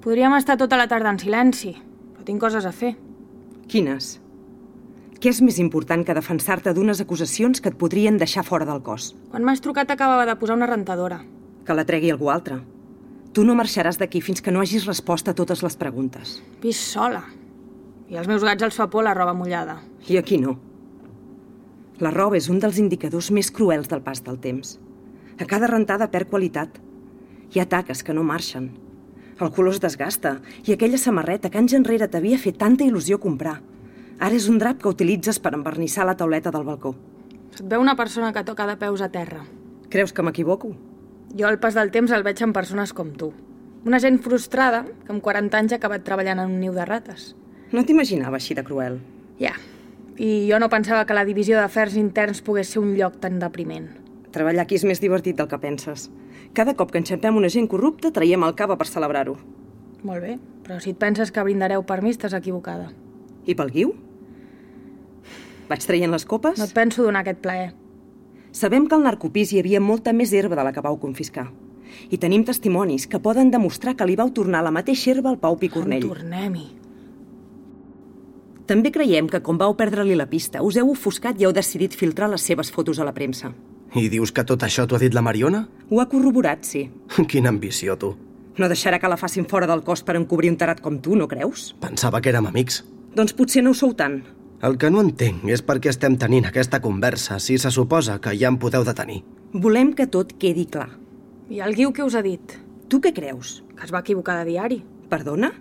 Podríem estar tota la tarda en silenci, però tinc coses a fer. Quines? Què és més important que defensar-te d'unes acusacions que et podrien deixar fora del cos? Quan m'has trucat acabava de posar una rentadora. Que la tregui algú altre. Tu no marxaràs d'aquí fins que no hagis resposta a totes les preguntes. Visc sola. I als meus gats els fa por la roba mullada. I aquí no. La roba és un dels indicadors més cruels del pas del temps. A cada rentada perd qualitat. Hi ha taques que no marxen. El color es desgasta i aquella samarreta que anys enrere t'havia fet tanta il·lusió comprar. Ara és un drap que utilitzes per envernissar la tauleta del balcó. Et veu una persona que toca de peus a terra. Creus que m'equivoco? Jo al pas del temps el veig en persones com tu. Una gent frustrada que amb 40 anys ha acabat treballant en un niu de rates. No t'imaginava així de cruel. Ja, i jo no pensava que la divisió d'afers interns pogués ser un lloc tan depriment. Treballar aquí és més divertit del que penses. Cada cop que enxampem una gent corrupta, traiem el cava per celebrar-ho. Molt bé, però si et penses que brindareu per mi, estàs equivocada. I pel guiu? Vaig traient les copes? No et penso donar aquest plaer. Sabem que al narcopís hi havia molta més herba de la que vau confiscar. I tenim testimonis que poden demostrar que li vau tornar la mateixa herba al Pau Picornell. En Tornem-hi. També creiem que, com vau perdre-li la pista, us heu ofuscat i heu decidit filtrar les seves fotos a la premsa. I dius que tot això t'ho ha dit la Mariona? Ho ha corroborat, sí. Quina ambició, tu. No deixarà que la facin fora del cos per encobrir un tarat com tu, no creus? Pensava que érem amics. Doncs potser no ho sou tant. El que no entenc és per què estem tenint aquesta conversa si se suposa que ja em podeu detenir. Volem que tot quedi clar. I el guiu que us ha dit? Tu què creus? Que es va equivocar de diari. Perdona?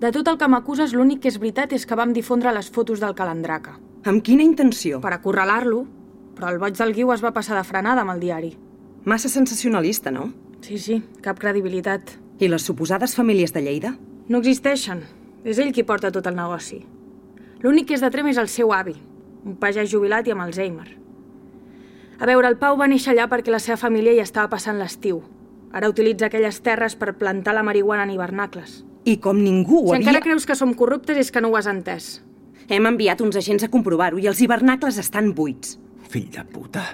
De tot el que m'acuses, l'únic que és veritat és que vam difondre les fotos del calandraca. Amb quina intenció? Per acorralar-lo. Però el boig del guiu es va passar de frenada amb el diari. Massa sensacionalista, no? Sí, sí, cap credibilitat. I les suposades famílies de Lleida? No existeixen. És ell qui porta tot el negoci. L'únic que és de trem és el seu avi, un pagès jubilat i amb Alzheimer. A veure, el Pau va néixer allà perquè la seva família hi estava passant l'estiu. Ara utilitza aquelles terres per plantar la marihuana en hivernacles. I com ningú ho Si havia... encara creus que som corruptes és que no ho has entès. Hem enviat uns agents a comprovar-ho i els hivernacles estan buits. Fill de puta.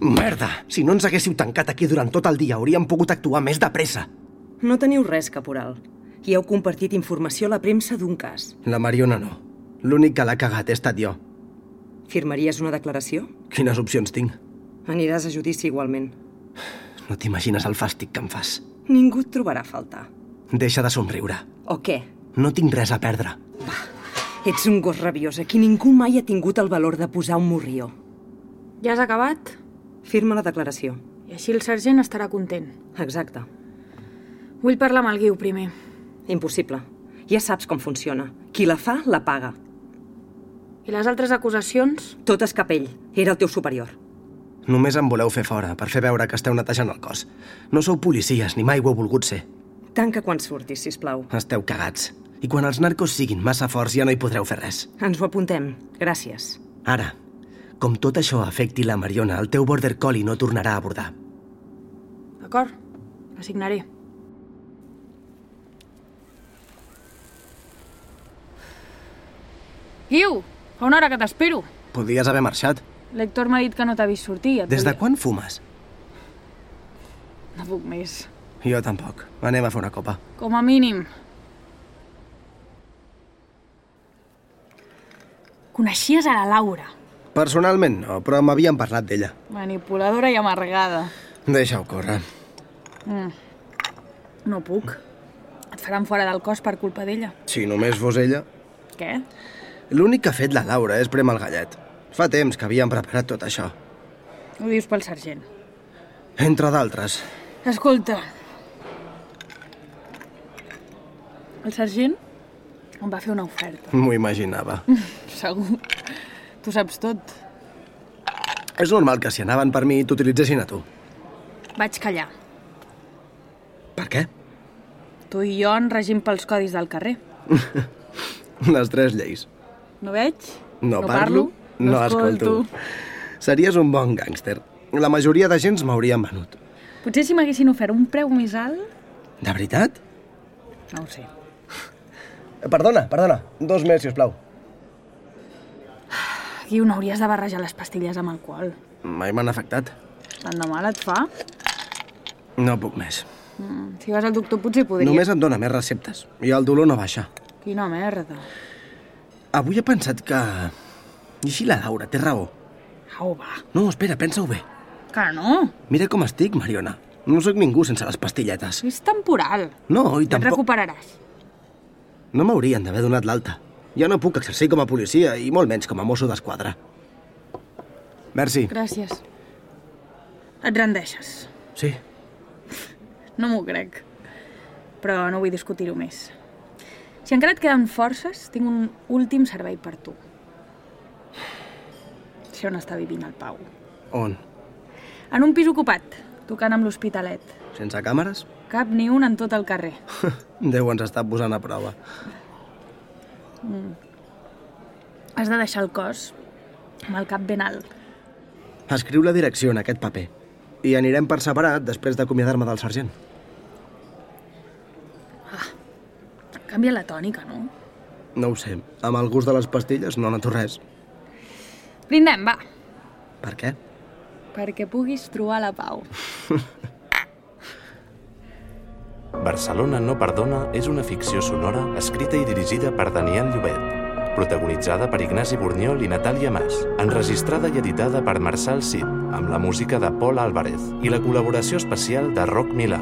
Merda! Si no ens haguéssiu tancat aquí durant tot el dia, hauríem pogut actuar més de pressa. No teniu res, caporal. I heu compartit informació a la premsa d'un cas. La Mariona no. L'únic que l'ha cagat he estat jo. Firmaries una declaració? Quines opcions tinc? Aniràs a judici igualment. No t'imagines el fàstic que em fas. Ningú et trobarà a faltar. Deixa de somriure. O què? No tinc res a perdre. Ets un gos rabiós a qui ningú mai ha tingut el valor de posar un morrió. Ja has acabat? Firma la declaració. I així el sergent estarà content. Exacte. Vull parlar amb el Guiu primer. Impossible. Ja saps com funciona. Qui la fa, la paga. I les altres acusacions? Tot és cap ell. Era el teu superior. Només em voleu fer fora per fer veure que esteu netejant el cos. No sou policies, ni mai ho heu volgut ser. Tanca quan surtis, si plau. Esteu cagats. I quan els narcos siguin massa forts ja no hi podreu fer res. Ens ho apuntem. Gràcies. Ara, com tot això afecti la Mariona, el teu border collie no tornarà a abordar. D'acord? Assignaré. Guiu, fa una hora que t'espero. Podies haver marxat. L'Hector m'ha dit que no t'ha vist sortir. Et Des de volia- quan fumes? No puc més. Jo tampoc. Anem a fer una copa. Com a mínim. Coneixies a la Laura, Personalment no, però m'havien parlat d'ella. manipuladora i amargada. Deixa-ho córrer. No puc. Et faran fora del cos per culpa d'ella. Si només fos ella... Què? L'únic que ha fet la Laura és prem el gallet. Fa temps que havíem preparat tot això. Ho dius pel sergent. Entre d'altres. Escolta. El sergent em va fer una oferta. M'ho imaginava. Segur. Tu saps tot. És normal que si anaven per mi t'utilitzessin a tu. Vaig callar. Per què? Tu i jo ens regim pels codis del carrer. Les tres lleis. No veig? No, parlo, no, escolto. Series un bon gàngster. La majoria de gens m'haurien venut. Potser si m'haguessin ofert un preu més alt... De veritat? No ho sé. Perdona, perdona. Dos més, sisplau. Guiu, no hauries de barrejar les pastilles amb alcohol. Mai m'han afectat. Tant de mal et fa? No puc més. Mm, si vas al doctor potser podria. Només em dona més receptes i el dolor no baixa. Quina merda. Avui he pensat que... I si la Laura té raó? Au, va. No, espera, pensa-ho bé. Que no. Mira com estic, Mariona. No sóc ningú sense les pastilletes. És temporal. No, i Et tampoc... recuperaràs. No m'haurien d'haver donat l'alta. Ja no puc exercir com a policia i molt menys com a mosso d'esquadra. Merci. Gràcies. Et rendeixes. Sí. No m'ho crec. Però no vull discutir-ho més. Si encara et queden forces, tinc un últim servei per tu. Sé on està vivint el Pau. On? En un pis ocupat, tocant amb l'Hospitalet. Sense càmeres? Cap ni un en tot el carrer. Déu ens està posant a prova. Has de deixar el cos amb el cap ben alt. Escriu la direcció en aquest paper. I anirem per separat després d'acomiadar-me del sergent. Canvia la tònica, no? No ho sé. Amb el gust de les pastilles no noto res. Brindem, va. Per què? Perquè puguis trobar la pau. Barcelona no perdona és una ficció sonora escrita i dirigida per Daniel Llobet, protagonitzada per Ignasi Burniol i Natàlia Mas, enregistrada i editada per Marçal Cid, amb la música de Paul Álvarez i la col·laboració especial de Roc Milà.